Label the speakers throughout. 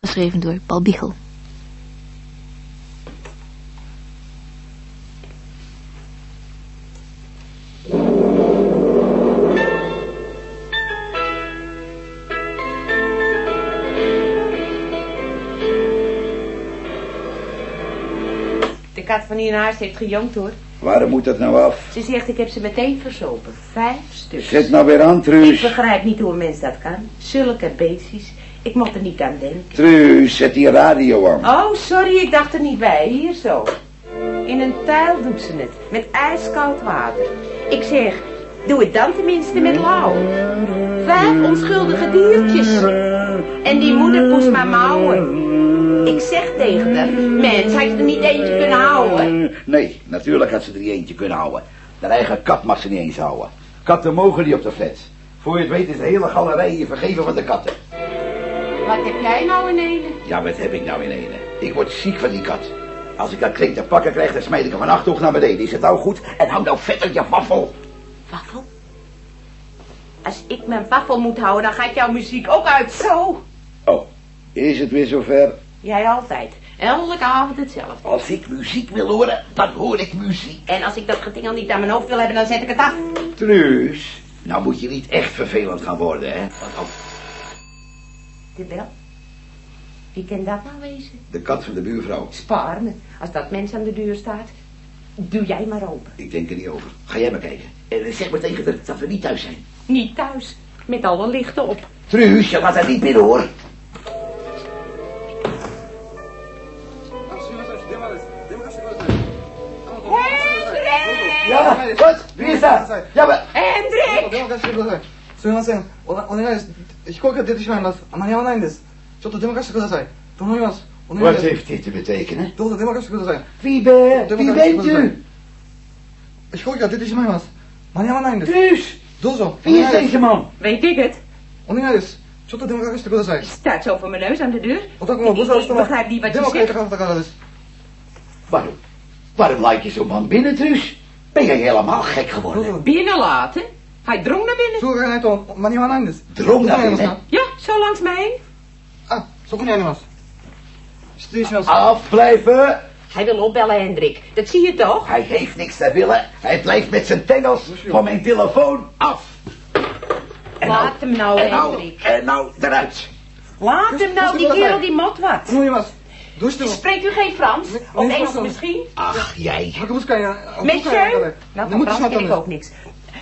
Speaker 1: geschreven door Paul Biegel.
Speaker 2: De kat van hier in huis heeft gejankt hoor.
Speaker 3: Waarom moet dat nou af?
Speaker 2: Ze zegt ik heb ze meteen verzopen. Vijf stuks.
Speaker 3: Zet nou weer aan,
Speaker 2: Ik
Speaker 3: Truus.
Speaker 2: begrijp niet hoe een mens dat kan. Zulke beestjes. Ik mocht er niet aan denken.
Speaker 3: Truus, zet die radio aan.
Speaker 2: Oh, sorry, ik dacht er niet bij. Hier zo. In een tuil doet ze het. Met ijskoud water. Ik zeg, doe het dan tenminste met lauw. Vijf onschuldige diertjes. En die moeder poest maar mouwen. Ik zeg tegen haar, mens, had je er niet eentje kunnen houden?
Speaker 3: Eh, Nee, natuurlijk had ze er niet eentje kunnen houden. De eigen kat mag ze niet eens houden. Katten mogen niet op de flats. Voor je het weet is de hele galerij hier vergeven van de katten.
Speaker 2: Wat heb jij nou in ene?
Speaker 3: Ja, wat heb ik nou in ene? Ik word ziek van die kat. Als ik dat kleed te pakken krijg, dan smijt ik hem van achterhoog naar beneden. Is het nou goed? En hou nou vet uit je waffel.
Speaker 2: Waffel? Als ik mijn waffel moet houden, dan gaat jouw muziek ook uit. Zo!
Speaker 3: Oh, is het weer zover?
Speaker 2: Jij altijd. Elke avond hetzelfde.
Speaker 3: Als ik muziek wil horen, dan hoor ik muziek.
Speaker 2: En als ik dat getingel niet aan mijn hoofd wil hebben, dan zet ik het af.
Speaker 3: Truus. Nou moet je niet echt vervelend gaan worden, hè? Want als
Speaker 2: De bel? Wie kan dat nou wezen?
Speaker 3: de kat van de buurvrouw.
Speaker 2: Spaar me. Als dat mens aan de deur staat, doe jij maar open.
Speaker 3: Ik denk er niet over. Ga jij maar kijken. En eh, zeg maar tegen haar dat we niet thuis zijn.
Speaker 2: Niet thuis. Met alle lichten op.
Speaker 3: Truus, je gaat daar niet binnen hoor.
Speaker 2: Hendrik!
Speaker 3: Ja, wat? Wie is dat? Ja, maar...
Speaker 2: Hendrik!
Speaker 4: 電話貸してくださいすみませんおなお願いです飛行機が出てしまいます間に合わないんですちょっと電話貸してください頼みますお願い
Speaker 3: Wat
Speaker 4: です
Speaker 3: heeft dit te betekenen?
Speaker 4: どうぞ電話貸してください
Speaker 3: Wie, ben, wie bent u?
Speaker 4: 飛行機が出てしまいます間に合わないんです
Speaker 3: Truus,
Speaker 4: どうぞお
Speaker 3: wie is
Speaker 4: 願いです
Speaker 3: deze man?
Speaker 2: Weet ik het?
Speaker 4: お願いですちょっと電話貸してください
Speaker 2: Staat zo voor mijn neus aan de deur.
Speaker 4: お宅もご参照
Speaker 2: Ik begrijp niet
Speaker 4: 電
Speaker 2: wat je
Speaker 4: 話くれた
Speaker 2: zegt.
Speaker 4: 方からです
Speaker 3: Waarom? Waarom laat je zo'n man binnen, Truus? Ben jij helemaal gek geworden?
Speaker 4: どうぞ
Speaker 2: Binnenlaten? Hij drong naar binnen.
Speaker 4: そこがないと間に合わないんです
Speaker 3: どんな
Speaker 4: どこにありますか
Speaker 2: Ja, zo langs mij heen.
Speaker 4: あそこにあります失礼します
Speaker 3: Afblijven!
Speaker 2: Hij wil opbellen, Hendrik. Dat zie je toch?
Speaker 3: Hij heeft niks te willen. Hij blijft met zijn tengels van mijn telefoon af.
Speaker 2: Laat hem nou,
Speaker 3: en nou,
Speaker 2: Hendrik.
Speaker 3: en nou, eruit.
Speaker 4: Dus
Speaker 2: Laat hem nou, die kerel die mot
Speaker 4: 頼
Speaker 2: wat.
Speaker 4: みますどうしても
Speaker 2: Spreekt u geen Frans?
Speaker 4: Nee,
Speaker 2: Of
Speaker 4: nee,
Speaker 2: Engels
Speaker 4: Frans.
Speaker 2: misschien?
Speaker 3: Ach, jij.
Speaker 4: 博物館や
Speaker 2: Monsieur?
Speaker 4: なん
Speaker 2: Nou, van
Speaker 4: でもし
Speaker 2: Frans
Speaker 4: まった
Speaker 2: ken
Speaker 4: んで
Speaker 2: ik
Speaker 4: す
Speaker 2: ook niks.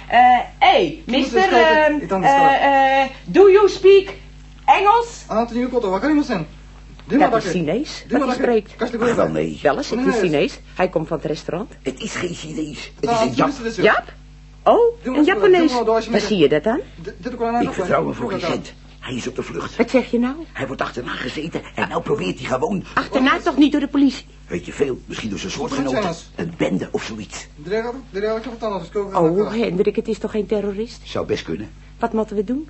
Speaker 2: Eh, hey,
Speaker 4: moet eens
Speaker 2: mister,
Speaker 4: kijken.
Speaker 2: ehm,
Speaker 4: Ik kan
Speaker 2: eh,
Speaker 4: het wel.
Speaker 2: eh, do you speak Engels?
Speaker 4: あなたの言うことわかりません電話だ
Speaker 2: Dat
Speaker 4: け
Speaker 2: is
Speaker 4: 電
Speaker 2: Chinees,
Speaker 4: 話
Speaker 2: wat hij
Speaker 4: だけ
Speaker 2: spreekt.
Speaker 4: 貸してくだ
Speaker 3: Ach,
Speaker 4: さ
Speaker 3: wel
Speaker 4: い
Speaker 3: nee.
Speaker 2: Wel eens, het is
Speaker 4: Nee.
Speaker 2: Chinees. Hij komt van het restaurant.
Speaker 3: Het is geen Chinees. Het is
Speaker 4: あ
Speaker 3: een
Speaker 4: ー、ト
Speaker 3: Jap.
Speaker 4: リストですよ。
Speaker 2: Jap? Oh,
Speaker 4: Doe
Speaker 2: een
Speaker 4: maar eens,
Speaker 2: Japanees.
Speaker 4: doe maar door,
Speaker 2: Waar
Speaker 4: alsjeblieft.
Speaker 2: zie je dat aan?
Speaker 4: で出てこられないの
Speaker 3: Ik vertrouw hem voor geen
Speaker 4: これ
Speaker 3: cent. Hij is op de vlucht.
Speaker 2: Wat zeg je nou?
Speaker 3: Hij wordt achterna gezeten en nou probeert hij gewoon...
Speaker 2: Achterna toch niet door de politie?
Speaker 3: Weet je veel, misschien door zijn
Speaker 4: Goed,
Speaker 3: soortgenoten.
Speaker 4: jongens.
Speaker 3: Een bende of zoiets.
Speaker 4: 出れが出れがかかったのです。今日からだ
Speaker 2: Oh,
Speaker 4: から
Speaker 2: Hendrik, het is toch geen terrorist?
Speaker 3: Zou best kunnen.
Speaker 2: Wat moeten we doen?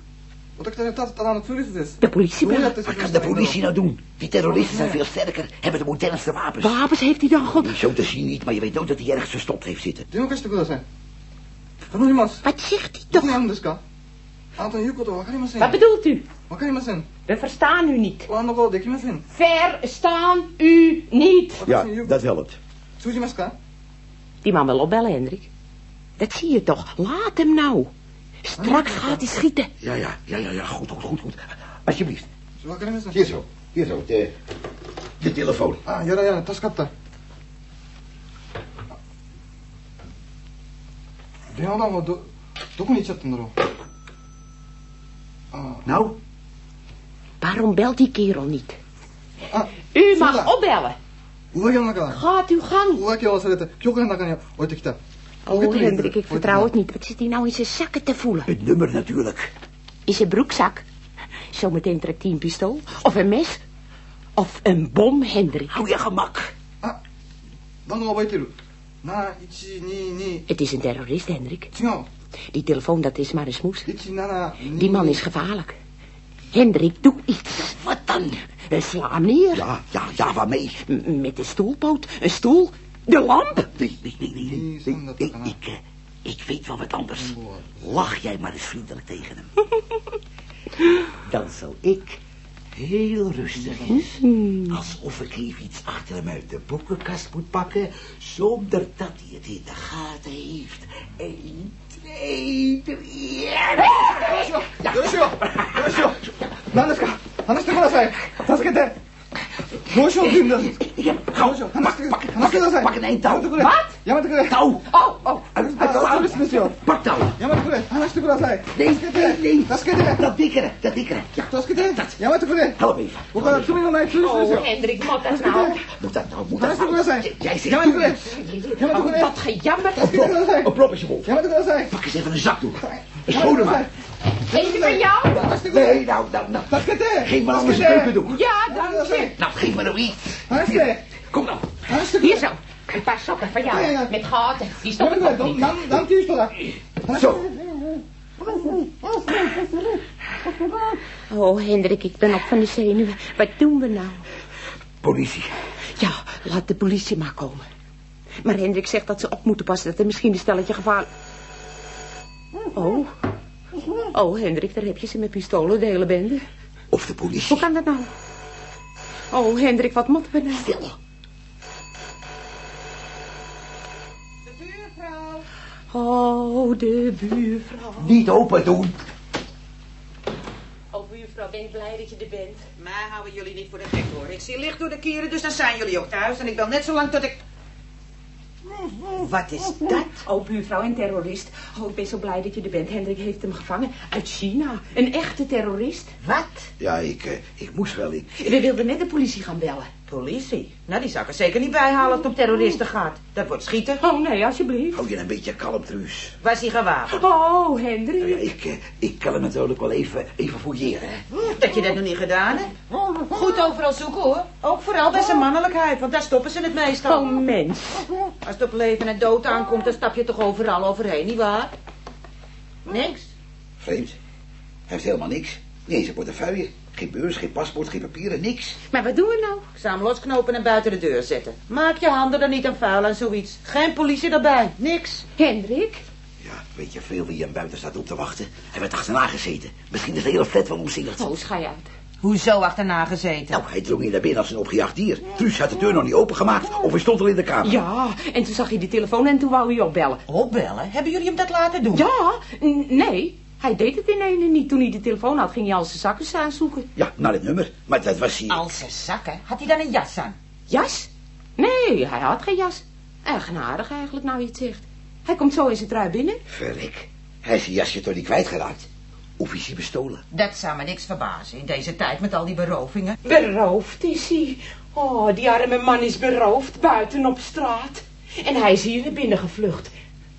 Speaker 4: 私たちはただのツーリストです。
Speaker 2: De politie
Speaker 4: どうや
Speaker 2: bellen.
Speaker 4: って説
Speaker 3: Wat
Speaker 4: 明
Speaker 3: kan
Speaker 4: し
Speaker 3: de
Speaker 4: たらいいの
Speaker 3: politie nou doen? Die terroristen zijn veel sterker, hebben de modernste wapens.
Speaker 2: Wapens heeft hij dan god.
Speaker 3: Zo te zien niet, maar je weet nooit dat hij ergens verstopt heeft zitten.
Speaker 4: 電話貸してください。頼みます。
Speaker 2: Wat zegt hij
Speaker 4: どこに
Speaker 2: toch?
Speaker 4: あるんですかあなたの言うことわかりません。
Speaker 2: Wat
Speaker 4: わ
Speaker 2: bedoelt u?
Speaker 4: かりません。
Speaker 2: We verstaan u niet.
Speaker 4: ご案内できません。
Speaker 2: Verstaan u niet.
Speaker 4: 私の言うこと
Speaker 3: helpt.
Speaker 4: 通じますか
Speaker 2: Die man wil opbellen, Hendrik. Dat zie je toch. Laat hem nou. Straks gaat hij schieten.
Speaker 3: Ja, ja, ja, ja, ja, goed, goed, goed, goed. Alsjeblieft.
Speaker 4: わかりません。
Speaker 3: Hier zo, hier zo, de, de telefoon.
Speaker 4: あ、やらやら、助かった。電話番号ど、どこに行っちゃったんだろう。あ
Speaker 3: Nou,
Speaker 2: Waarom belt die kerel niet?
Speaker 4: あ、
Speaker 2: U
Speaker 4: Zo
Speaker 2: mag
Speaker 4: dan.
Speaker 2: opbellen.
Speaker 4: 上着の中だ。
Speaker 2: Gaat uw gang.
Speaker 4: 浮気を忘れて曲の中に置いてきた
Speaker 2: Oh,
Speaker 4: に入れ
Speaker 2: Hendrik,
Speaker 4: て置い
Speaker 2: ik
Speaker 4: て
Speaker 2: vertrouw het niet. Wat zit hij nou in zijn zakken te voelen?
Speaker 3: het nummer natuurlijk.
Speaker 2: In zijn broekzak? Zometeen trekt hij een pistool. Of een mes. Of een bom, Hendrik.
Speaker 3: Hou je gemak.
Speaker 4: あ番号覚えてる7122
Speaker 2: Het is een terrorist, Hendrik.
Speaker 4: 違う
Speaker 2: Die telefoon, dat is maar een smoes.
Speaker 4: 172
Speaker 2: Die man is gevaarlijk. Hendrik, doe iets. Wat dan? Sla hem neer.
Speaker 3: Ja, ja, ja, waarmee?
Speaker 2: M- Met de stoelpoot, een stoel, de lamp.
Speaker 3: Nee, nee, nee, nee. nee, nee,
Speaker 4: Zonder
Speaker 3: nee,
Speaker 4: kanaal.
Speaker 3: ik, eh, ik weet wel wat anders. Lach jij maar eens vriendelijk tegen hem. Dan zal ik heel rustig is. Alsof ik even iets achter hem uit de boekenkast moet pakken, zonder dat hij het in de gaten heeft. Eén, twee, drie. Ja.
Speaker 4: Хорошо, хорошо. Наночка, Наночка, кудасай. Таскете. Хорошо, дым да.
Speaker 3: Ik heb gauw.
Speaker 4: Хорошо,
Speaker 3: Pak,
Speaker 4: Наночка,
Speaker 3: pak,
Speaker 4: Наночка,
Speaker 3: pak,
Speaker 4: кудасай.
Speaker 3: pak een eind touw.
Speaker 4: Wat? Ямат кудасай.
Speaker 3: Touw. Oh, oh. Uit, uit de
Speaker 4: Dat
Speaker 3: laag.
Speaker 4: is misschien.
Speaker 3: Pak touw.
Speaker 4: Ямат кудасай. Наночка, кудасай.
Speaker 3: Nee, nee, nee.
Speaker 4: Таскете.
Speaker 3: Dat dikkere, dat dikkere. Ja,
Speaker 4: Таскете. Ямат кудасай.
Speaker 3: help even.
Speaker 4: Hoe gaat het zonder mij
Speaker 5: Oh,
Speaker 4: tussen?
Speaker 5: Hendrik, moet dat nou?
Speaker 3: Moet dat nou, moet dat
Speaker 4: Наночка,
Speaker 3: nou?
Speaker 4: кудасай.
Speaker 3: Jij zegt...
Speaker 4: Ямат кудасай. Ямат
Speaker 5: Oh,
Speaker 4: кудасай.
Speaker 5: dat gejammer.
Speaker 4: Таскете, кудасай.
Speaker 3: Een prop in zijn mond.
Speaker 4: Ямат кудасай.
Speaker 3: Pak eens even een zakdoek. Een schone maar.
Speaker 5: Eentje van jou?
Speaker 4: Таскете.
Speaker 3: Nee, nou, nou, nou.
Speaker 4: Таскете.
Speaker 3: Geef maar anders een keukendoek.
Speaker 5: Ja, dank je.
Speaker 3: Nou, geef maar nou iets.
Speaker 4: Hartstikke.
Speaker 3: Kom nou.
Speaker 4: Hartstikke.
Speaker 5: Hier zo. Een paar sokken van jou. Met gaten.
Speaker 4: Ямат
Speaker 5: Die stoppen
Speaker 4: кудасай.
Speaker 5: toch niet.
Speaker 4: Dan dan dan kies je
Speaker 3: Zo.
Speaker 5: Oh, Hendrik, ik ben op van de zenuwen. Wat doen we nou?
Speaker 3: Politie.
Speaker 5: Ja, laat de politie maar komen. Maar Hendrik zegt dat ze op moeten passen, dat er misschien een stelletje gevaar... Oh. Oh, Hendrik, daar heb je ze met pistolen, de hele bende.
Speaker 3: Of de
Speaker 5: Hoe
Speaker 3: politie.
Speaker 5: kan dat nou? Oh, Hendrik, wat moeten we nou?
Speaker 3: Stil.
Speaker 5: Oh, de buurvrouw.
Speaker 3: Niet open doen.
Speaker 5: Oh, buurvrouw, ben ik blij dat je er bent.
Speaker 6: Maar houden jullie niet voor de gek hoor. Ik zie licht door de kieren, dus dan zijn jullie ook thuis. En ik bel net zo lang tot ik. Wat is dat?
Speaker 5: Oh, buurvrouw en terrorist. Oh, ik ben zo blij dat je er bent. Hendrik heeft hem gevangen. Uit China. Een echte terrorist.
Speaker 6: Wat?
Speaker 3: Ja, ik, eh, ik moest wel. Ik,
Speaker 5: We wilden net de politie gaan bellen.
Speaker 6: Politie. Nou, die zou ik er zeker niet bij halen als het om terroristen gaat. Dat wordt schieten.
Speaker 5: Oh, nee, alsjeblieft.
Speaker 3: hou je een beetje kalm, Truus.
Speaker 6: Was hij gewapend?
Speaker 5: Oh, Hendrik.
Speaker 3: Ja, ik, eh, ik kan hem natuurlijk wel even, even fouilleren. hè.
Speaker 6: Dat je dat nog niet gedaan hebt. Goed overal zoeken hoor. Ook vooral bij zijn mannelijkheid, want daar stoppen ze het meestal.
Speaker 5: Oh, mens.
Speaker 6: Als het op leven en dood aankomt, dan stap je toch overal overheen, nietwaar? Niks.
Speaker 3: Vreemd. Hij heeft helemaal niks. Niet eens een portefeuille. Geen beurs, geen paspoort, geen papieren, niks.
Speaker 5: Maar wat doen we nou?
Speaker 6: Ik zou hem losknopen en buiten de deur zetten. Maak je handen er niet aan vuil aan zoiets. Geen politie erbij. Niks.
Speaker 5: Hendrik?
Speaker 3: Ja, weet je veel wie hem buiten staat op te wachten? Hij werd achterna gezeten. Misschien is de hele flat wel omsingeld.
Speaker 5: Oh, schij uit.
Speaker 6: Hoezo achterna gezeten?
Speaker 3: Nou, hij drong hier naar binnen als een opgejaagd dier. Truus had de deur nog niet opengemaakt of hij stond al in de kamer.
Speaker 5: Ja, en toen zag hij die telefoon en toen wou hij opbellen.
Speaker 6: Nou, Opbellen? Hebben jullie hem dat laten doen?
Speaker 5: Ja, n- nee. Hij deed het in ene niet. Toen hij de telefoon had, ging hij al zijn zakken staan zoeken.
Speaker 3: Ja, naar het nummer. Maar dat was hij...
Speaker 6: Als ze zakken, had hij dan een jas aan?
Speaker 5: Jas? Nee, hij had geen jas. Eigenaardig eigenlijk, nou je het zegt. Hij komt zo in zijn trui binnen.
Speaker 3: Verrek. Hij is zijn jasje toch niet kwijtgeraakt? Of is hij bestolen?
Speaker 6: Dat zou me niks verbazen in deze tijd met al die berovingen.
Speaker 5: Beroofd is hij. Oh, die arme man is beroofd, buiten op straat. En hij is hier naar binnen gevlucht.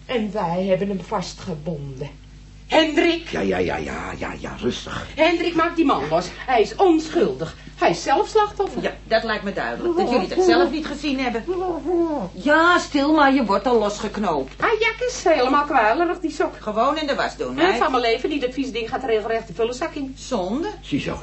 Speaker 5: En wij hebben hem vastgebonden. Hendrik,
Speaker 3: Ja, ja, ja, ja, ja, ja, rustig.
Speaker 5: Hendrik maakt die man los. Hij is onschuldig. Hij is zelf slachtoffer.
Speaker 6: Ja, dat lijkt me duidelijk. Dat jullie dat zelf niet gezien hebben. Ja, stil maar, je wordt al losgeknoopt.
Speaker 5: Hij jak is helemaal kwijlerig, die sok.
Speaker 6: Gewoon in de was doen,
Speaker 5: En
Speaker 6: hè?
Speaker 5: van mijn leven, die dat vies ding gaat regelrecht de vulle zak in.
Speaker 6: Zonde.
Speaker 3: Ziezo,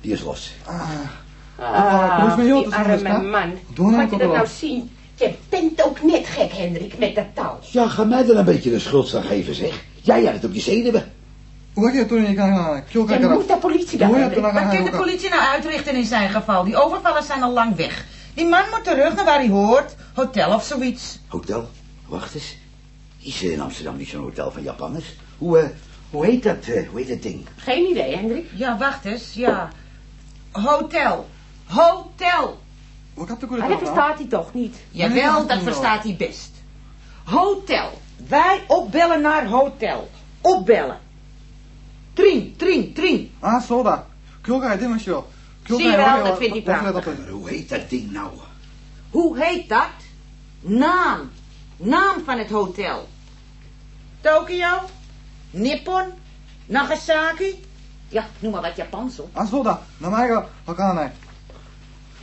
Speaker 3: die is los.
Speaker 4: Ah, hoe is mijn jood
Speaker 5: die
Speaker 4: dus anders,
Speaker 5: arme
Speaker 4: hè?
Speaker 5: man.
Speaker 4: Doe nou,
Speaker 5: Moet je dat
Speaker 4: Cordula.
Speaker 5: nou zien? Je bent ook net gek, Hendrik, met dat touw.
Speaker 3: Ja, ga mij dan een beetje de schuld gaan geven, zeg. Jij had het op je zenuwen.
Speaker 4: Hoe had je het toen je kan? Kjol
Speaker 5: Je
Speaker 4: kijk eraf.
Speaker 5: moet de politie
Speaker 4: Hoe
Speaker 5: bellen,
Speaker 4: had je
Speaker 5: Hendrik.
Speaker 4: het
Speaker 6: Wat kan de
Speaker 4: toen
Speaker 6: politie nou uitrichten in zijn geval? Die overvallers zijn al lang weg. Die man moet terug naar waar hij hoort. Hotel of zoiets.
Speaker 3: Hotel, wacht eens. Is er in Amsterdam niet zo'n hotel van Japanners? Hoe, eh, hoe heet dat, eh, hoe heet dat ding?
Speaker 5: Geen idee, Hendrik.
Speaker 6: Ja, wacht eens, ja. Hotel. Hotel.
Speaker 4: Hoe gaat de
Speaker 5: Maar dat verstaat hij toch niet.
Speaker 6: Jawel, dat verstaat hij best. Hotel. Wij opbellen naar hotel. Opbellen. Tring, tring, tring.
Speaker 4: Ah, soda. Kjol kijk, dit was je.
Speaker 6: Zie je wel, dat vindt hij prachtig.
Speaker 3: Maar hoe heet dat ding nou?
Speaker 6: Hoe heet dat? Naam. Naam van het hotel. Tokio? Nippon? Nagasaki? Ja, noem maar wat Japans op.
Speaker 4: Ah, soda. Naar mij gaan. Wat kan hij?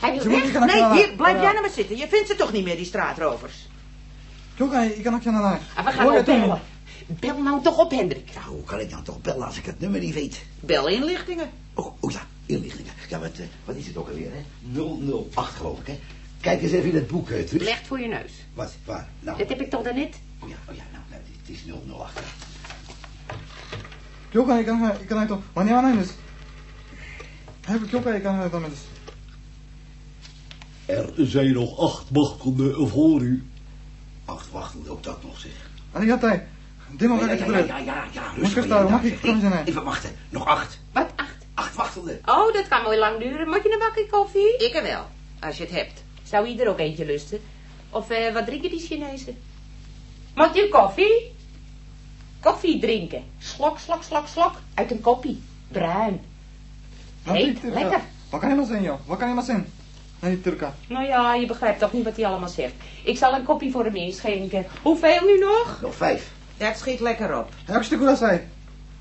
Speaker 5: Hij wil
Speaker 4: Ze moeten
Speaker 5: weg.
Speaker 4: gaan
Speaker 6: Nee, hier, blijf jij
Speaker 4: jij
Speaker 6: nou maar zitten. Je vindt ze toch niet meer, die straatrovers.
Speaker 4: Kjol kijk, ik kan ook je naar mij.
Speaker 5: Ah, we gaan ook bellen. Bel nou toch op, Hendrik.
Speaker 3: Ja, Ah, hoe kan ik dan toch bellen als ik het nummer niet weet?
Speaker 6: Bel inlichtingen.
Speaker 3: Oh, oh ja, inlichtingen. Ja, wat, eh, wat is het ook alweer, hè? 008 geloof ik, hè? Kijk eens even in het boek, eh, Truus.
Speaker 5: Recht voor je neus.
Speaker 3: Wat, waar? Nou,
Speaker 5: Dat heb ik toch daarnet?
Speaker 3: oh ja, oh ja, nou, nou, het is 008. hè.
Speaker 4: Kjol kijk, ik kan ik kan ook. Wanneer aan hij is? 協会行かないとダメです。
Speaker 7: Er zijn nog acht wachtenden voor u.
Speaker 3: Wacht, wacht, ook dat nog zeg.
Speaker 4: ありがたい。でもかけてくれる。
Speaker 3: ja, ja.
Speaker 4: Moet ik even daar, mag ik
Speaker 3: Zeg,
Speaker 4: kan zijn, hè?
Speaker 3: Even wachten, nog acht.
Speaker 5: Wat, acht?
Speaker 3: Acht wachtenden.
Speaker 5: Oh, dat kan mooi lang duren. Moet je een bakje koffie?
Speaker 6: Ik er wel, als je het hebt.
Speaker 5: Zou ieder ook eentje lusten? Of eh, wat drinken die Chinezen? Moet je koffie? Koffie drinken. Slok, slok, slok, slok. Uit een koppie. Bruin.
Speaker 4: なんて言ってる
Speaker 5: えい
Speaker 4: か。わかりませんよ。わかりません。何言ってるか。
Speaker 5: Nou ja, je begrijpt toch niet wat hij allemaal zegt. Ik zal een kopje voor hem inschenken. Hoeveel nu nog?
Speaker 3: Nog vijf.
Speaker 6: Dat schiet lekker op.
Speaker 4: 早くしてください。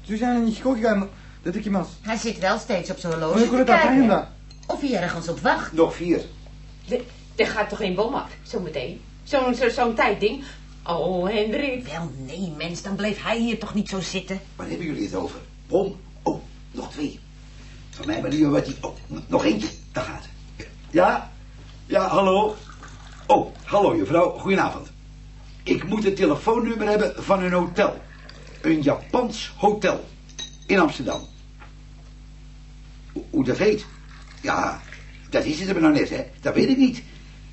Speaker 4: 駐車に飛行機が出てきます。
Speaker 6: Hij zit wel steeds op zijn
Speaker 4: 乗り
Speaker 6: horloge
Speaker 4: 遅
Speaker 6: te
Speaker 4: れたら大変
Speaker 6: kijken
Speaker 4: だ。
Speaker 6: of hij ergens op wacht.
Speaker 3: Nog vier.
Speaker 5: De- Er gaat toch geen bom af, zometeen? Zo'n zo, zo'n tijdding. Oh, Hendrik.
Speaker 6: Wel, nee, mens, dan bleef hij hier toch niet zo zitten.
Speaker 3: Waar hebben jullie het over? Bom. Oh, nog twee. Van mij maar liever wat die... Oh, n- nog eentje. Daar gaat het. Ja? Ja, hallo? Oh, hallo mevrouw. Goedenavond. Ik moet het telefoonnummer hebben van een hotel. Een Japans hotel. In Amsterdam. Ho- Hoe dat heet? Ja, dat is het er maar nou net, hè. Dat weet ik niet.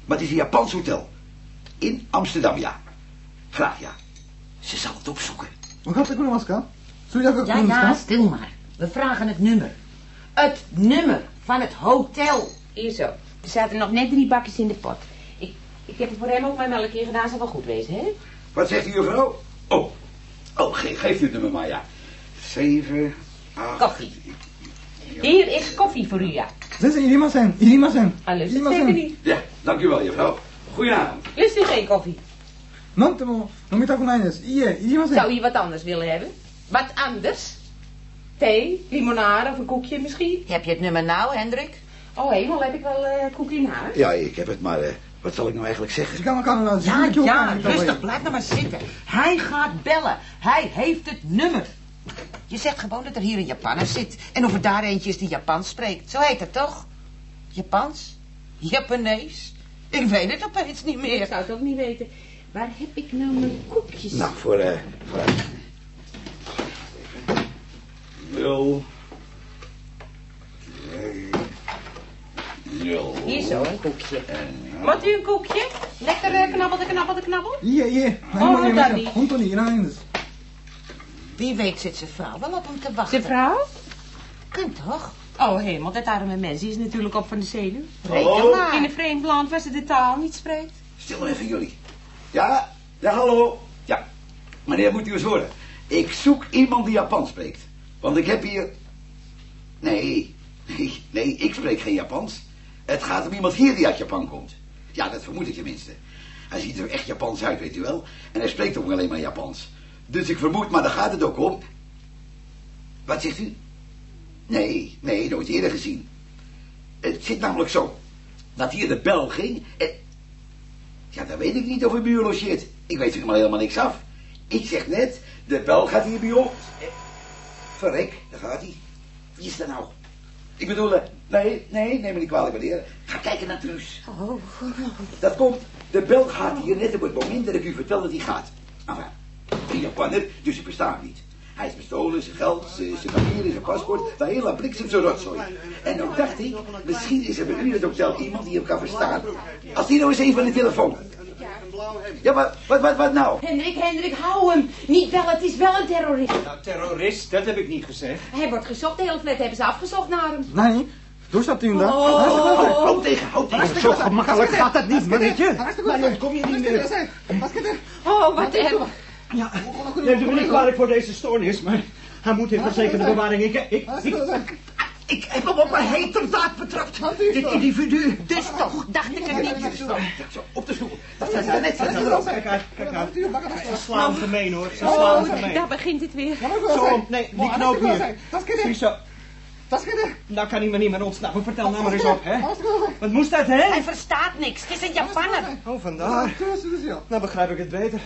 Speaker 3: Maar het is een Japans hotel. In Amsterdam, ja. Graag, ja. Ze zal het opzoeken.
Speaker 4: 分かってくれますか通訳が来
Speaker 6: Ja,
Speaker 4: るんです
Speaker 6: ja,
Speaker 4: か
Speaker 6: stil maar. We vragen het nummer. Het nummer van het hotel.
Speaker 5: Hier zo. Er zaten nog net drie bakjes in de pot. Ik, ik heb er voor hem ook mijn melk in gedaan. Zal wel goed wezen, hè?
Speaker 3: Wat zegt u, mevrouw? Oh, oh ge- geef u het nummer maar, ja. Zeven, acht...
Speaker 5: Koffie. Hier is koffie voor u, ja.
Speaker 4: 先生、いりません。いりません。
Speaker 5: Ah,
Speaker 4: い
Speaker 5: lust
Speaker 4: り
Speaker 5: het
Speaker 4: ませ
Speaker 5: zeker
Speaker 4: ん。
Speaker 5: niet.
Speaker 3: Ja, dank u wel, mevrouw. Goedenavond.
Speaker 5: Lust u geen koffie?
Speaker 4: なんても飲みたくないです。いいえ、いりません。
Speaker 5: Zou u wat anders willen hebben? Wat anders? Thee, limonade of een koekje misschien?
Speaker 6: Heb je het nummer nou, Hendrik?
Speaker 5: Oh, hemel, heb ik wel eh koekje in huis?
Speaker 3: Ja, ik heb het, maar eh, wat zal ik nou eigenlijk zeggen?
Speaker 4: 時間がかかるなら自分
Speaker 6: Ja,
Speaker 4: で教科
Speaker 6: ja,
Speaker 4: に行った方がいい
Speaker 6: rustig, blijf nou maar zitten. Hij gaat bellen. Hij heeft het nummer. Je zegt gewoon dat er hier een Japanner zit. En of er daar eentje is die Japans spreekt. Zo heet het toch? Japans? Japanees? Ik weet het opeens niet
Speaker 5: Ik
Speaker 6: meer.
Speaker 5: zou het ook niet weten. Waar heb ik nou mijn koekjes?
Speaker 3: Nou, voor... eh voor... Nul. Twee. Nul.
Speaker 5: Hier zo, een koekje. Wat u een koekje? Lekker eh, knabbelde, knabbelde, knabbel.
Speaker 4: いいえ、いいえ。何もいりませ
Speaker 5: 本当
Speaker 4: ん。
Speaker 5: に
Speaker 4: 本当にいらないんです。
Speaker 6: Wie weet zit zijn vrouw wel op hem te wachten.
Speaker 5: Zijn vrouw?
Speaker 6: Kan toch?
Speaker 5: Oh hemel, dat arme mens die is natuurlijk op van de zenuw.
Speaker 3: Hallo?
Speaker 5: In een vreemd land waar ze de taal niet spreekt.
Speaker 3: Stil maar even jullie. Ja, ja, hallo. Ja, meneer, moet u eens horen. Ik zoek iemand die Japans spreekt. Want ik heb hier... Nee, nee, nee, ik spreek geen Japans. Het gaat om iemand hier die uit Japan komt. Ja, dat vermoed ik tenminste. Hij ziet er echt Japans uit, weet u wel. En hij spreekt ook alleen maar Japans. Dus ik vermoed, maar daar gaat het ook om. Wat zegt u? Nee, nee, nooit eerder gezien. Het zit namelijk zo. Dat hier de bel ging en, ja, dan weet ik niet of u bij u logeert. Ik weet helemaal helemaal niks af. Ik zeg net, de bel gaat hier bij ons. Eh, Verrek, daar gaat hij. Wie is dat nou? Ik bedoel, eh, nee, nee, neem me niet kwalijk, meneer. Ga kijken naar Truus.
Speaker 6: Oh,
Speaker 3: Dat komt, de bel gaat hier net op het moment dat ik u vertel dat hij gaat. Enfin, een Japanner, dus ik besta niet. Hij is bestolen, zijn geld, zijn zijn papieren, zijn paspoort, de hele bliksem zijn rotzooi. En dan dacht ik, misschien is er bij u in het hotel iemand die hem kan verstaan. Als die nou eens even aan de telefoon ja, maar wat, wat, wat nou?
Speaker 5: Hendrik, Hendrik, hou hem. Niet wel, het is wel een terrorist.
Speaker 8: Nou, terrorist, dat heb ik niet gezegd.
Speaker 5: Hij wordt gezocht, de hele flat hebben ze afgezocht naar hem.
Speaker 4: 何どうしたって言うんだ話してください
Speaker 3: Hou tegen, hou tegen.
Speaker 8: Zo gemakkelijk gaat dat niet, mannetje.
Speaker 4: 話してください
Speaker 8: kom je
Speaker 4: 話
Speaker 8: niet
Speaker 4: してくだ
Speaker 8: meer.
Speaker 4: さい助けて
Speaker 5: Oh, wat erg.
Speaker 8: Neemt u me niet kwalijk voor deze stoornis, maar hij moet in verzekerde bewaring. Ik, ik, ik,
Speaker 4: 話してください
Speaker 3: Ik heb hem op een heterdaad betrapt. Dit individu. Dus toch, dacht ik het niet. Zo, op de stoel. Dat is net Nou, dus- zo.
Speaker 8: Kijk uit, kijk uit.
Speaker 4: バカだ人
Speaker 8: Ze slaan gemeen, hoor. Ze
Speaker 3: Oh,
Speaker 8: slaan gemeen.
Speaker 5: Daar begint het weer.
Speaker 4: やめてください
Speaker 8: Zo, nee, die
Speaker 4: 話して
Speaker 8: knoop
Speaker 4: ください
Speaker 8: hier.
Speaker 4: 助けて
Speaker 8: Ziezo,
Speaker 4: 助けて
Speaker 8: nou kan hij me niet meer ontsnappen. Vertel nou maar eens op, hè.
Speaker 4: 話してください
Speaker 8: Wat moest dat, hè?
Speaker 6: Hij verstaat niks. Het is een Japanner.
Speaker 8: Oh,
Speaker 4: ああ
Speaker 8: vandaar.
Speaker 4: 教室ですよ
Speaker 8: Nou begrijp ik het beter.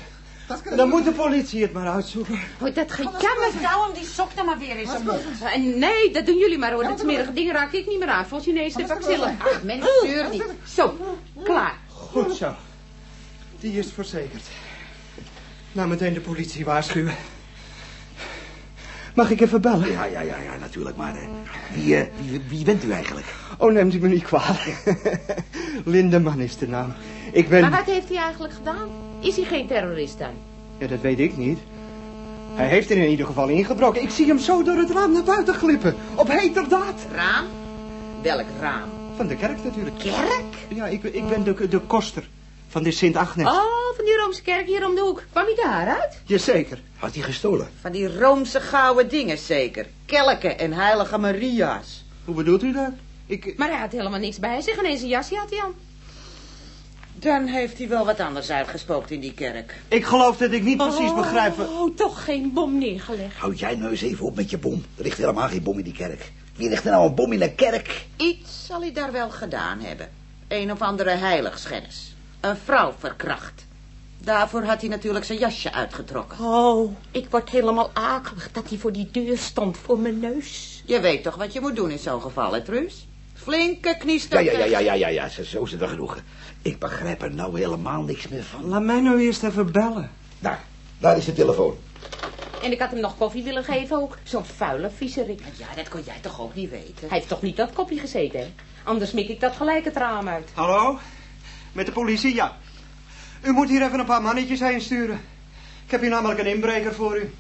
Speaker 4: 助けて
Speaker 8: Dan moet de politie het maar uitzoeken.
Speaker 5: Wordt dat gek?
Speaker 6: Ja, mevrouw, hem die sok dan maar weer in zijn mond.
Speaker 5: Nee, dat doen jullie maar hoor. Dat smerige ding raak ik niet meer aan. Voor Chinese vaccillen.
Speaker 6: Ach, mens, zeur niet.
Speaker 5: Zo, klaar.
Speaker 8: Goed zo. Die is verzekerd. Nou, meteen de politie waarschuwen. Mag ik even bellen?
Speaker 3: Ja, ja, ja, ja, natuurlijk. Maar eh, wie, eh, wie, wie bent u eigenlijk?
Speaker 8: Oh, neemt u me niet kwalijk. Lindeman is de naam. Ik ben...
Speaker 5: Maar wat heeft hij eigenlijk gedaan? Is hij geen terrorist dan?
Speaker 8: Ja, dat weet ik niet. Hij heeft er in ieder geval ingebroken. Ik zie hem zo door het raam naar buiten glippen. Op heterdaad.
Speaker 6: Raam? Welk raam?
Speaker 8: Van de kerk natuurlijk.
Speaker 6: Kerk?
Speaker 8: Ja, ik, ik ben de, de koster van de Sint-Agnes.
Speaker 5: Oh, van die Roomse kerk hier om de hoek. Kwam hij daaruit?
Speaker 8: Jazeker.
Speaker 3: Had hij gestolen?
Speaker 6: Van die Roomse gouden dingen zeker. Kelken en heilige Maria's.
Speaker 8: Hoe bedoelt u dat? Ik...
Speaker 5: Maar hij had helemaal niks bij zich. Ineens een jasje had hij aan.
Speaker 6: Dan heeft hij wel wat anders uitgespookt in die kerk.
Speaker 8: Ik geloof dat ik niet precies begrijp... wat-
Speaker 5: Oh, toch geen bom neergelegd.
Speaker 3: Houd jij nou eens even op met je bom. Er ligt helemaal geen bom in die kerk. Wie ligt er nou een bom in een kerk?
Speaker 6: Iets zal hij daar wel gedaan hebben. Een of andere heiligschennis. Een vrouw verkracht. Daarvoor had hij natuurlijk zijn jasje uitgetrokken.
Speaker 5: Oh, ik word helemaal akelig dat hij voor die deur stond voor mijn neus.
Speaker 6: Je weet toch wat je moet doen in zo'n geval, hè, Truus? Flinke
Speaker 3: Ja,
Speaker 6: kniestukken.
Speaker 3: ja, ja, ja, ja, ja, ja. Zo- Zo is het er genoeg. Ik begrijp er nou helemaal niks meer van.
Speaker 8: Laat mij nou eerst even bellen.
Speaker 3: Daar, daar is de telefoon.
Speaker 5: En ik had hem nog koffie willen geven ook. Zo'n vuile viezerik.
Speaker 6: Ja, dat kon jij toch ook niet weten?
Speaker 5: Hij heeft toch niet dat kopje gezeten, hè? Anders mik ik dat gelijk het raam uit.
Speaker 8: Hallo? Met de politie, ja. U moet hier even een paar mannetjes heen sturen. Ik heb hier namelijk een inbreker voor u.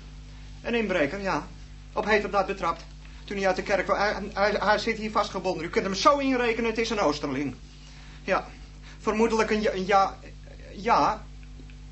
Speaker 8: Een inbreker, ja. Op heterdaad betrapt. Toen hij uit de kerk kwam. Hij, hij- hij zit hier vastgebonden. U kunt hem zo inrekenen, het is een Oosterling. Ja. Vermoedelijk een ja... een ja, ja,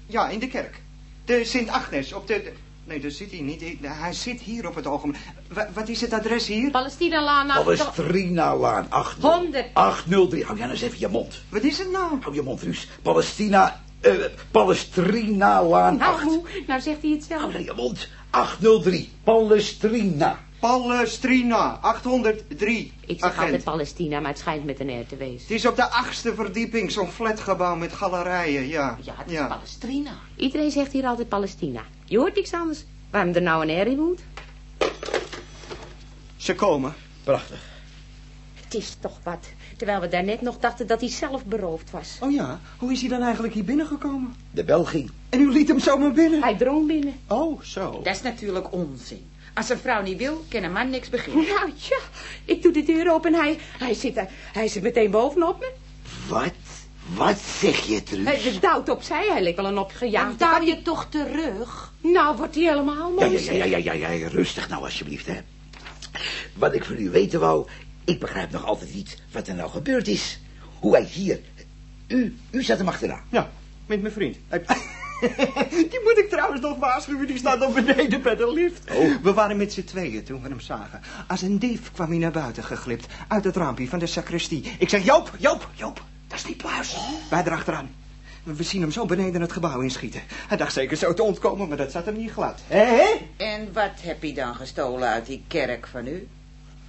Speaker 8: ja, in de kerk. De Sint-Agnes op de... de- Nee, daar zit hij niet. Hij zit hier op het ogenblik. Wa- Wat is het adres hier?
Speaker 5: Palestina Nou, Lana.
Speaker 3: Palestrina-laan 8
Speaker 5: Honderd.
Speaker 3: 803. Hou jij nou eens even je mond.
Speaker 8: Wat is het nou?
Speaker 3: Hou je mond, Ruus. Palestina, eh, Palestrina-laan 8.
Speaker 5: Nou, hoe? nou zegt hij het zelf.
Speaker 3: Hou nou je mond. 803. Palestrina.
Speaker 8: Palestrina, 803.
Speaker 5: Ik zeg
Speaker 8: agent.
Speaker 5: altijd Palestina, maar het schijnt met een R te wezen.
Speaker 8: Het is op de achtste verdieping, zo'n flatgebouw met galerijen, ja.
Speaker 5: Ja, het is Palestrina. Iedereen zegt hier altijd Palestina. Je hoort niks anders. Waarom er nou een R in moet?
Speaker 8: Ze komen.
Speaker 3: Prachtig.
Speaker 5: Het is toch wat. Terwijl we daarnet nog dachten dat hij zelf beroofd was.
Speaker 8: Oh ja, hoe is hij dan eigenlijk hier binnengekomen?
Speaker 3: De bel ging.
Speaker 8: En u liet hem zomaar binnen?
Speaker 5: Hij drong binnen.
Speaker 8: Oh, zo.
Speaker 6: Dat is natuurlijk onzin. Als een vrouw niet wil, kan een man niks beginnen.
Speaker 5: Nou ja, ik doe de deur open en hij, hij, zit, er- hij zit meteen bovenop me.
Speaker 3: Wat? Wat zeg je, Truus?
Speaker 5: Hij duwt opzij, hij lijkt wel een opgejaagd.
Speaker 6: Daar je toch terug?
Speaker 5: Nou wordt hij helemaal
Speaker 3: Ja,
Speaker 5: mooi.
Speaker 3: ja, ja, ja, ja, ja, ja, rustig nou alsjeblieft, hè. Wat ik van u weten wou, ik begrijp nog altijd niet wat er nou gebeurd is. Hoe hij hier... U, u zat hem achterna.
Speaker 8: Ja, met mijn vriend. Hij- Die moet ik trouwens nog waarschuwen, die staat al beneden bij de lift.
Speaker 3: Oh.
Speaker 8: We waren met z'n tweeën toen we hem zagen. Als een dief kwam hij naar buiten geglipt, uit het raampje van de sacristie. Ik zeg, Joop, Joop, Joop, dat is die pluis. Wij erachteraan. We zien hem zo beneden het gebouw inschieten. Hij dacht zeker zo te ontkomen, maar dat zat hem niet glad. Hé, hé?
Speaker 6: En wat heb je dan gestolen uit die kerk van u?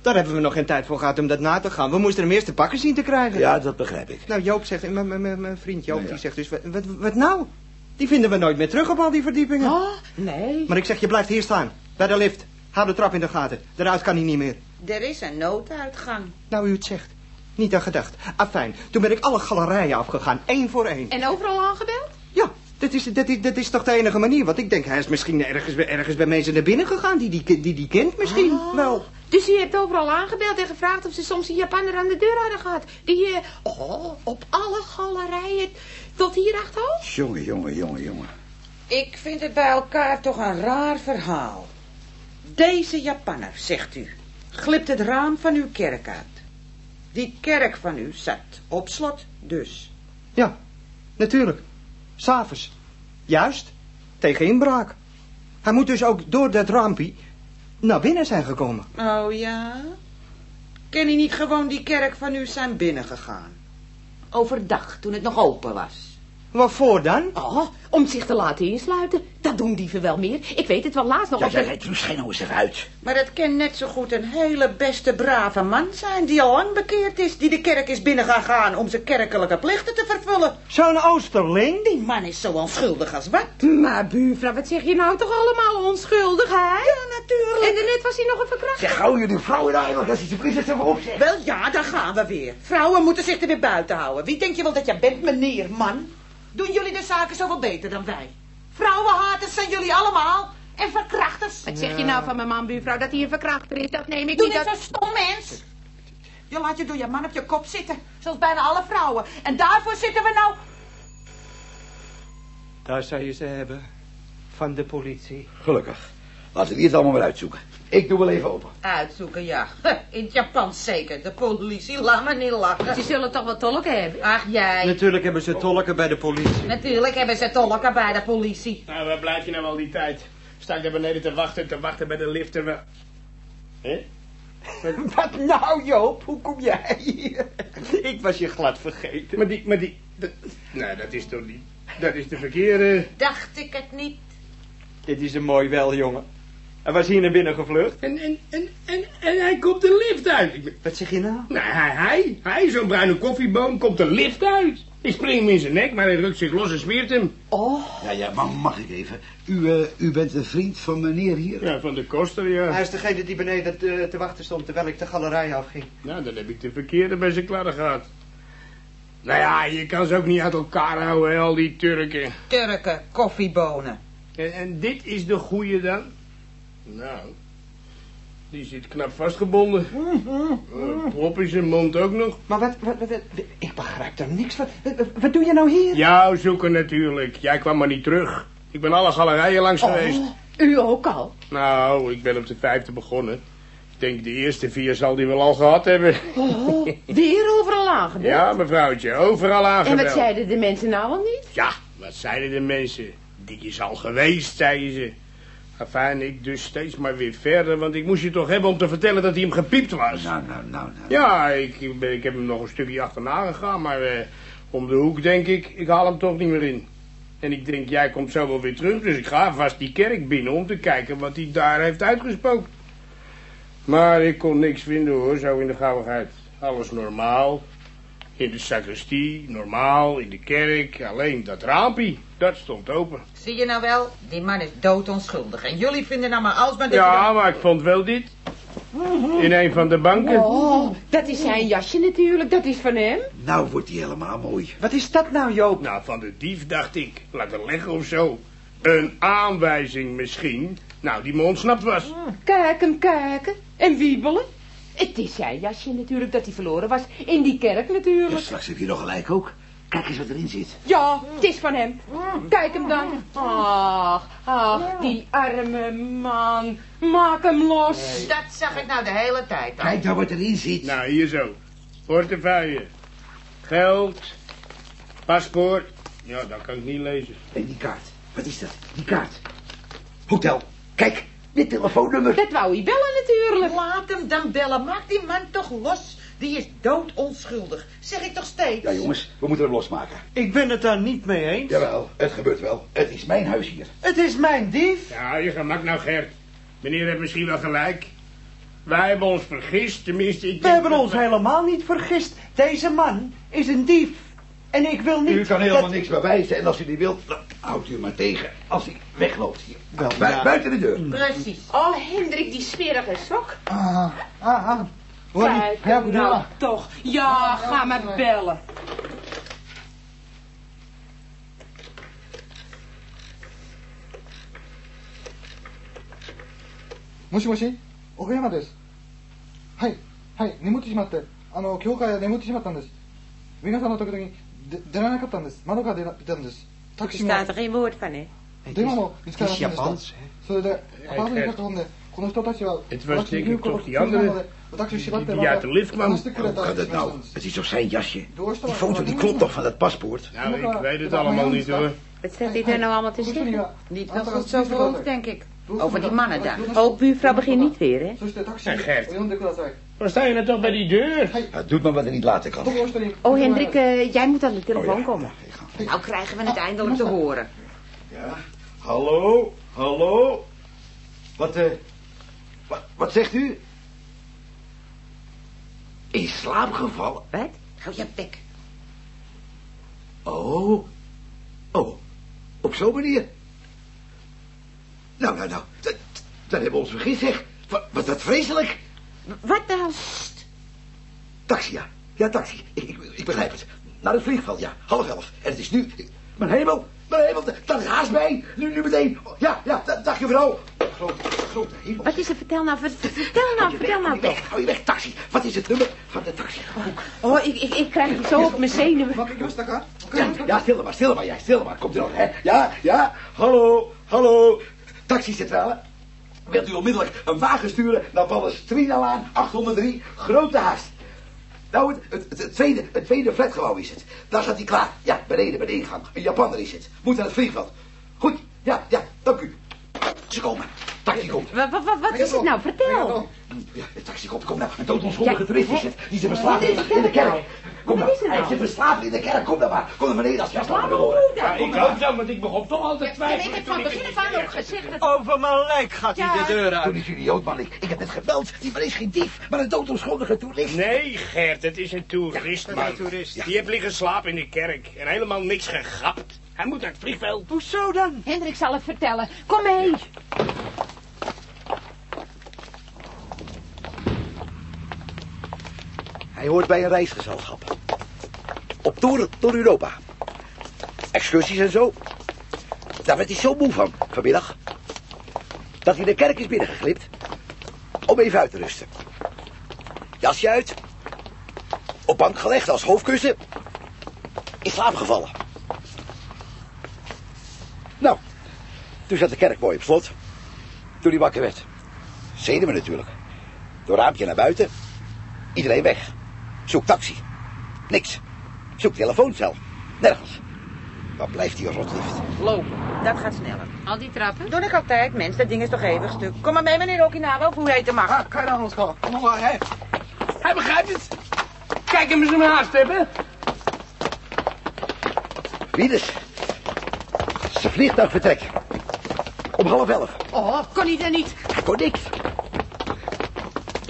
Speaker 8: Daar hebben we nog geen tijd voor gehad om dat na te gaan. We moesten hem eerst te pakken zien te krijgen.
Speaker 3: Ja, dat begrijp ik.
Speaker 8: Nou, Joop zegt, m- m- m- mijn vriend Joop,
Speaker 3: Nou ja.
Speaker 8: die zegt dus, wat, wat, wat nou? Die vinden we nooit meer terug op al die verdiepingen.
Speaker 5: Nee.
Speaker 8: Maar ik zeg, je blijft hier staan, bij de lift. Hou de trap in de gaten, daaruit kan hij niet meer.
Speaker 6: Er is een nooduitgang.
Speaker 8: Nou, u het zegt. Niet aan gedacht. Afijn, toen ben ik alle galerijen afgegaan, één voor één.
Speaker 5: En overal aangebeld?
Speaker 8: Ja, dat is, dat, is, dat is toch de enige manier, want ik denk, hij is misschien ergens, bij- ergens bij mensen naar binnen gegaan die die, die, die kent misschien. Wel,
Speaker 5: Dus je hebt overal aangebeld en gevraagd of ze soms een Japanner aan de deur hadden gehad. Die, eh, oh, op alle galerijen tot hier achterhoofd.
Speaker 3: Jongen, jongen, jongen, jongen.
Speaker 6: Ik vind het bij elkaar toch een raar verhaal. Deze Japanner, zegt u, glipt het raam van uw kerk uit. Die kerk van u zat op slot dus.
Speaker 8: Ja, natuurlijk. S'avonds. Juist. Tegen inbraak. Hij moet dus ook door dat raampje naar binnen zijn gekomen.
Speaker 6: Oh ja? Ken hij niet gewoon die kerk van u zijn binnengegaan? Overdag, toen het nog open was.
Speaker 8: Waarvoor dan?
Speaker 5: Oh, om zich te laten insluiten. Dat doen dieven wel meer. Ik weet het wel laatst nog.
Speaker 3: Ja,
Speaker 5: op
Speaker 3: ja,
Speaker 5: de-
Speaker 3: ja, Truus, schijn nou eens even uit.
Speaker 6: Maar het kan net zo goed een hele beste brave man zijn die al lang bekeerd is, die de kerk is binnengegaan om zijn kerkelijke plichten te vervullen.
Speaker 8: Zo'n Oosterling?
Speaker 6: Die man is zo onschuldig als wat.
Speaker 5: Maar buurvrouw, wat zeg je nou toch allemaal onschuldig, hè? Ja, natuurlijk. En daarnet was hij nog een verkrachter.
Speaker 3: Zeg, hou jullie vrouwen nou eigenlijk als je vriend zegt even op, zeg.
Speaker 6: Wel ja, daar gaan we weer. Vrouwen moeten zich er weer buiten houden. Wie denk je wel dat jij bent, meneer, man? Doen jullie de zaken zoveel beter dan wij? Vrouwenhaters zijn jullie allemaal. en verkrachters.
Speaker 5: Wat zeg je nou van mijn man, buurvrouw, dat hij een verkrachter is? Dat neem ik
Speaker 6: Doe
Speaker 5: niet.
Speaker 6: niet
Speaker 5: Dat...
Speaker 6: zo'n stom mens. Je laat je door je man op je kop zitten. Zoals bijna alle vrouwen. En daarvoor zitten we nou...
Speaker 8: Daar zou je ze hebben. Van de politie.
Speaker 3: Gelukkig. Laten we die het allemaal weer uitzoeken. Ik doe wel even open.
Speaker 6: Uitzoeken, ja. In het Japan zeker. De politie, laat me niet lachen.
Speaker 5: Die zullen toch wel tolken hebben?
Speaker 6: Ach, jij.
Speaker 8: Natuurlijk hebben ze tolken bij de politie.
Speaker 6: Natuurlijk hebben ze tolken bij de politie.
Speaker 9: Nou, waar blijf je nou al die tijd? Sta ik daar beneden te wachten, te wachten bij de lift en we... Hé?
Speaker 8: Wat nou, Joop? Hoe kom jij hier? Ik was je glad vergeten.
Speaker 9: Maar die, maar die... Dat, nou, dat is toch niet... Dat is de verkeerde...
Speaker 6: Dacht ik het niet.
Speaker 8: Dit is een mooi wel, jongen. Hij was hier naar binnen gevlucht.
Speaker 9: En, en, en, en, en hij komt de lift uit. Ik ben-
Speaker 8: Wat zeg je nou?
Speaker 9: Nou, hij, hij, hij zo'n bruine koffieboon, komt de lift uit. Ik spring hem in zijn nek, maar hij rukt zich los en smeert hem.
Speaker 3: Ja, ja, maar mag ik even? U, eh, u bent een vriend van meneer hier?
Speaker 9: Ja, van de koster, ja.
Speaker 8: Hij is degene die beneden eh, te, te wachten stond terwijl ik de galerij afging.
Speaker 9: Nou, dan heb ik de verkeerde bij zijn kladden gehad. Nou ja, je kan ze ook niet uit elkaar houden, hè, al die Turken.
Speaker 6: Turken, koffiebonen.
Speaker 9: En, en dit is de goeie dan? Nou, die zit knap vastgebonden. Eh, Prop in zijn mond ook nog.
Speaker 8: Maar wat, wat, wat, wat- ik begrijp daar niks van. Wat, wat- wat doe je nou hier?
Speaker 9: Jou zoeken natuurlijk. Jij kwam maar niet terug. Ik ben alle galerijen langs geweest.
Speaker 5: U ook al.
Speaker 9: Nou, ik ben op de vijfde begonnen. Ik denk de eerste vier zal die wel al gehad hebben.
Speaker 5: Oh, weer overal aangebeld.
Speaker 9: Ja, mevrouwtje, overal
Speaker 5: en
Speaker 9: aangebeld.
Speaker 5: wat zeiden de mensen nou al niet?
Speaker 9: Ja, wat zeiden de mensen? Die is al geweest, zeiden ze. Afijn, ik dus steeds maar weer verder, want ik moest je toch hebben om te vertellen dat hij hem gepiept was.
Speaker 3: Nou, nou, nou, nou.
Speaker 9: Ja, ik, ik ben- ik heb hem nog een stukje achterna gegaan, maar eh, om de hoek denk ik, ik haal hem toch niet meer in. En ik denk, jij komt zo wel weer terug, dus ik ga vast die kerk binnen om te kijken wat hij daar heeft uitgespookt. Maar ik kon niks vinden hoor, zo in de gauwigheid. Alles normaal. In de sacristie, normaal, in de kerk. Alleen dat raampje, dat stond open.
Speaker 6: Zie je nou wel? Die man is dood onschuldig. En jullie vinden nou maar alles maar... dat je
Speaker 9: Ja, maar ik vond wel dit. In een van de banken.
Speaker 5: Oh, dat is zijn jasje natuurlijk, dat is van hem.
Speaker 3: Nou wordt die helemaal mooi.
Speaker 8: Wat is dat nou, Joop?
Speaker 9: Nou, van de dief dacht ik. Laten leggen of zo. Een aanwijzing misschien. Nou, die me ontsnapt was.
Speaker 5: Kijken, kijken. En wiebelen. Het is zijn jasje natuurlijk dat hij verloren was. In die kerk
Speaker 3: Ja,
Speaker 5: natuurlijk.
Speaker 3: straks heb je nog gelijk ook. Kijk eens wat erin zit.
Speaker 5: Ja, het is van hem. Kijk hem dan. Ach, ach, die arme man. Maak hem los.
Speaker 6: Dat zag ik nou de hele tijd al.
Speaker 3: Kijk nou wat erin zit.
Speaker 9: Nou, hier zo. Portefeuille. Geld. Paspoort. Ja, dat kan ik niet lezen.
Speaker 3: En Eh, die kaart. Wat is dat? Die kaart. Hotel. Kijk, dit telefoonnummer.
Speaker 5: Dat wou hij bellen natuurlijk.
Speaker 6: Laat hem dan bellen. Maak die man toch los. Die is dood onschuldig. Zeg ik toch steeds.
Speaker 3: Ja, jongens, we moeten hem losmaken.
Speaker 8: Ik ben het daar niet mee eens.
Speaker 3: Jawel, het gebeurt wel. Het is mijn huis hier.
Speaker 8: Het is mijn dief.
Speaker 9: Ja, je gemak nou, Gert. Meneer heeft misschien wel gelijk. Wij hebben ons vergist, tenminste. Ik
Speaker 8: We
Speaker 9: denk
Speaker 8: hebben
Speaker 9: dat
Speaker 8: ons
Speaker 9: we-
Speaker 8: helemaal niet vergist. Deze man is een dief. En ik wil niet...
Speaker 3: U kan helemaal
Speaker 8: dat-
Speaker 3: niks bewijzen en als u die wilt, dan houdt u hem maar tegen. Als hij wegloopt hier.
Speaker 8: Wel,
Speaker 3: Bui-
Speaker 8: ja. Mm.
Speaker 3: Buiten de deur.
Speaker 6: Precies.
Speaker 5: Oh, Hendrik, die smerige sok.
Speaker 8: Ah, ah, ah. Hoor je?
Speaker 5: Kijk
Speaker 8: Ja,
Speaker 5: hem
Speaker 8: bedoel
Speaker 5: nou toch. Ja, ga maar bellen.
Speaker 4: もしもし奥山
Speaker 8: dus?
Speaker 4: ですはいはい眠ってし
Speaker 8: eh,
Speaker 4: まってあの教会で眠ってしまったんです皆さんの時々で出られなかったんです窓から出ら出たんですタクシーも
Speaker 5: er geen woord van, hè?
Speaker 8: Het
Speaker 4: Doe maar op. Dit kan
Speaker 8: het is
Speaker 4: niet anders
Speaker 8: Japans, hè?
Speaker 4: それでアパートに
Speaker 9: え
Speaker 4: 立ち込んでこの人たちは
Speaker 9: Het
Speaker 4: 私
Speaker 9: was
Speaker 4: の
Speaker 9: denk
Speaker 4: 入国
Speaker 9: ik toch
Speaker 4: を
Speaker 9: die
Speaker 4: なの
Speaker 9: andere.
Speaker 4: で私を縛って
Speaker 9: die- die uit de lift kwam.
Speaker 4: 話してくれ
Speaker 3: Hoe
Speaker 4: た
Speaker 3: kan
Speaker 4: んで
Speaker 3: dat
Speaker 4: す
Speaker 3: nou? Het is toch zijn jasje?
Speaker 4: Doorstaan.
Speaker 3: Die foto die klopt toch van dat paspoort?
Speaker 9: Nou, ik weet het allemaal niet hoor.
Speaker 5: Wat staat dit er nou allemaal te zeggen?
Speaker 6: Niet nog goed zo voor ons, denk ik. Over die mannen daar.
Speaker 5: Oh, buurvrouw begint niet weer, hè?
Speaker 4: そしてタクシ
Speaker 9: え
Speaker 4: ー
Speaker 9: え
Speaker 4: を呼んでください
Speaker 9: Waar sta je nou toch bij die deur?
Speaker 3: Het doet maar wat er niet laten kan.
Speaker 4: どうしたらいい
Speaker 5: Oh, Hendrik, eh, jij moet aan de
Speaker 3: Oh,
Speaker 5: telefoon
Speaker 3: ja.
Speaker 5: komen. Oh,
Speaker 3: Ja, ik ga.
Speaker 6: Nou krijgen we het eindelijk te horen.
Speaker 8: Hallo, hallo.
Speaker 3: Wat, eh, wat, wat zegt u? In slaap gevallen?
Speaker 5: Wat?
Speaker 6: Hou je bek.
Speaker 3: Oh. Oh. Op zo'n manier? Nou, nou, nou. Dat, dat hebben we ons vergist, zeg. Wat, wat dat vreselijk.
Speaker 5: Wat nou?
Speaker 3: Taxi, ja. Ja, taxi. Ik, ik, ik begrijp het. Naar het vliegveld, ja. Half elf. En het is nu... Mijn hemel. Mijn hemel, dat- dat haast mij. Nu, nu meteen. Ja, ja, da- dag mevrouw. Grote, grote hemel.
Speaker 5: Wat is er? Vertel nou, ver- ver- vertel nou, vertel nou toch.
Speaker 3: Weg, hou je weg, taxi. Wat is het nummer van de taxi?
Speaker 5: Oh, ik, ik, ik krijg je zo op mijn zenuwen.
Speaker 4: Mag ik rustig aan?
Speaker 3: Ja, ja, stil maar, stil maar, ja, stil maar. Komt er nog, hè? Ja, ja. Hallo, hallo. Taxicentrale. Wilt u onmiddellijk een wagen sturen naar Ballestrinalaan 803, Grote Haast. Nou, het, het, het, het tweede, het tweede flatgebouw is het. Daar staat hij klaar. Ja, beneden bij de ingang. Een Japanner is het. Moet naar het vliegveld. Goed, ja, ja, dank u. Ze komen. Taxi komt.
Speaker 5: Wat, wat, wat, wat is het nou? Vertel.
Speaker 3: Ja, de taxi komt, kom nou. Een dood onschuldige
Speaker 5: Ja,
Speaker 3: toerist is
Speaker 5: hè?
Speaker 3: het. Die zijn verslaafd
Speaker 5: Wat is
Speaker 3: in de
Speaker 5: dat nou?
Speaker 3: kerk. Kom
Speaker 5: Wat
Speaker 3: nou,
Speaker 5: is het
Speaker 3: hij
Speaker 5: nou?
Speaker 3: zit verslaafd in de kerk. Kom dan maar. Kom naar beneden als je dat maar wil horen.
Speaker 5: Ja,
Speaker 3: Kom
Speaker 10: Ik
Speaker 3: nou.
Speaker 10: ook dan, want ik begon toch al te
Speaker 5: En ik
Speaker 10: twijfelen.
Speaker 5: heb van begin af aan ook gezegd dat...
Speaker 10: Over mijn lijk gaat hij
Speaker 5: Ja.
Speaker 10: de deur
Speaker 3: Doe
Speaker 10: uit.
Speaker 3: niet idioot, man. Ik, ik heb net gebeld. Die man is geen dief, maar een doodonschuldige toerist.
Speaker 9: Nee, Gert, het is een toerist,
Speaker 8: Ja,
Speaker 9: man.
Speaker 8: een toerist.
Speaker 9: Die heeft liggen slapen in de kerk en helemaal niks gegapt. Hij moet naar het vliegveld.
Speaker 10: Hoezo dan?
Speaker 5: Hendrik zal het vertellen. Kom mee.
Speaker 3: Hij hoort bij een reisgezelschap. Op toer door Europa. Excursies en zo. Daar werd hij zo moe van, vanmiddag. Dat hij de kerk is binnengeglipt. Om even uit te rusten. Jasje uit. Op bank gelegd als hoofdkussen. In slaap gevallen. Nou, toen zat de kerk mooi op slot. Toen hij wakker werd. Zenuwen natuurlijk. Door raampje naar buiten. Iedereen weg. Zoek taxi. Niks. Zoek telefooncel. Nergens. Waar blijft die rotlift?
Speaker 6: Lopen, dat gaat sneller.
Speaker 5: Al die trappen?
Speaker 6: Doe ik altijd, mens. Dat ding is toch eeuwig stuk. Kom maar mee, meneer Okinawa, of hoe heet de mag.
Speaker 4: Ah, kan je dan anders gaan?
Speaker 10: Kom maar, hè. Hij begrijpt het. Kijk hem eens om haast hebben.
Speaker 3: Wieders. dus? Zijn vliegtuig vertrekt. Om half elf.
Speaker 5: Oh, kon hij dan niet?
Speaker 3: Hij kon niks.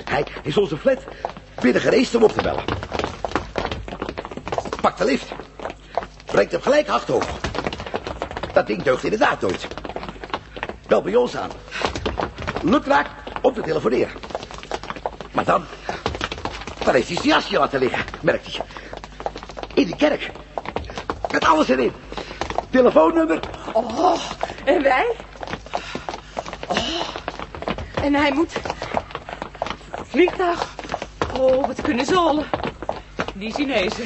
Speaker 3: Hij is onze flat binnen gereest om op te bellen. Pak de lift. Brengt hem gelijk achterover. Dat ding deugt inderdaad nooit. Bel bij ons aan. Lukraak om te telefoneren. Maar dan... Dan heeft hij zijn jasje laten liggen, merkt hij. In de kerk. Met alles erin. Telefoonnummer.
Speaker 5: Oh, en wij? Oh, en hij moet... Vliegtuig. Oh, wat kunnen ze allen. Die Chinezen.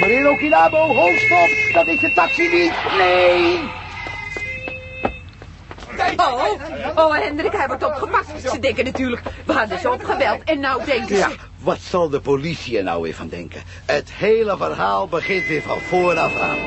Speaker 3: Meneer Okinabo, hoofdstop. Dat is de taxi niet. Nee.
Speaker 5: Oh, oh, Hendrik, hij wordt opgepakt. Ze denken natuurlijk, we hadden ze opgebeld. En nou denken
Speaker 3: Ja,
Speaker 5: ze...
Speaker 3: wat zal de politie er nou weer van denken? Het hele verhaal begint weer van vooraf aan.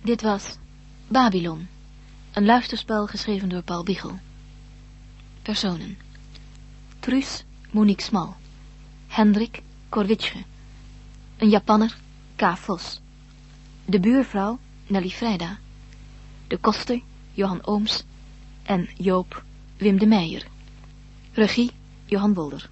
Speaker 1: Dit was Babylon, een luisterspel geschreven door Paul Biegel. Personen. Truus Monique Smal, Hendrik Korwitsche, een Japanner K. Vos, de buurvrouw Nelly Vrijda, de koster Johan Ooms en Joop Wim de Meijer. Regie Johan Wolder.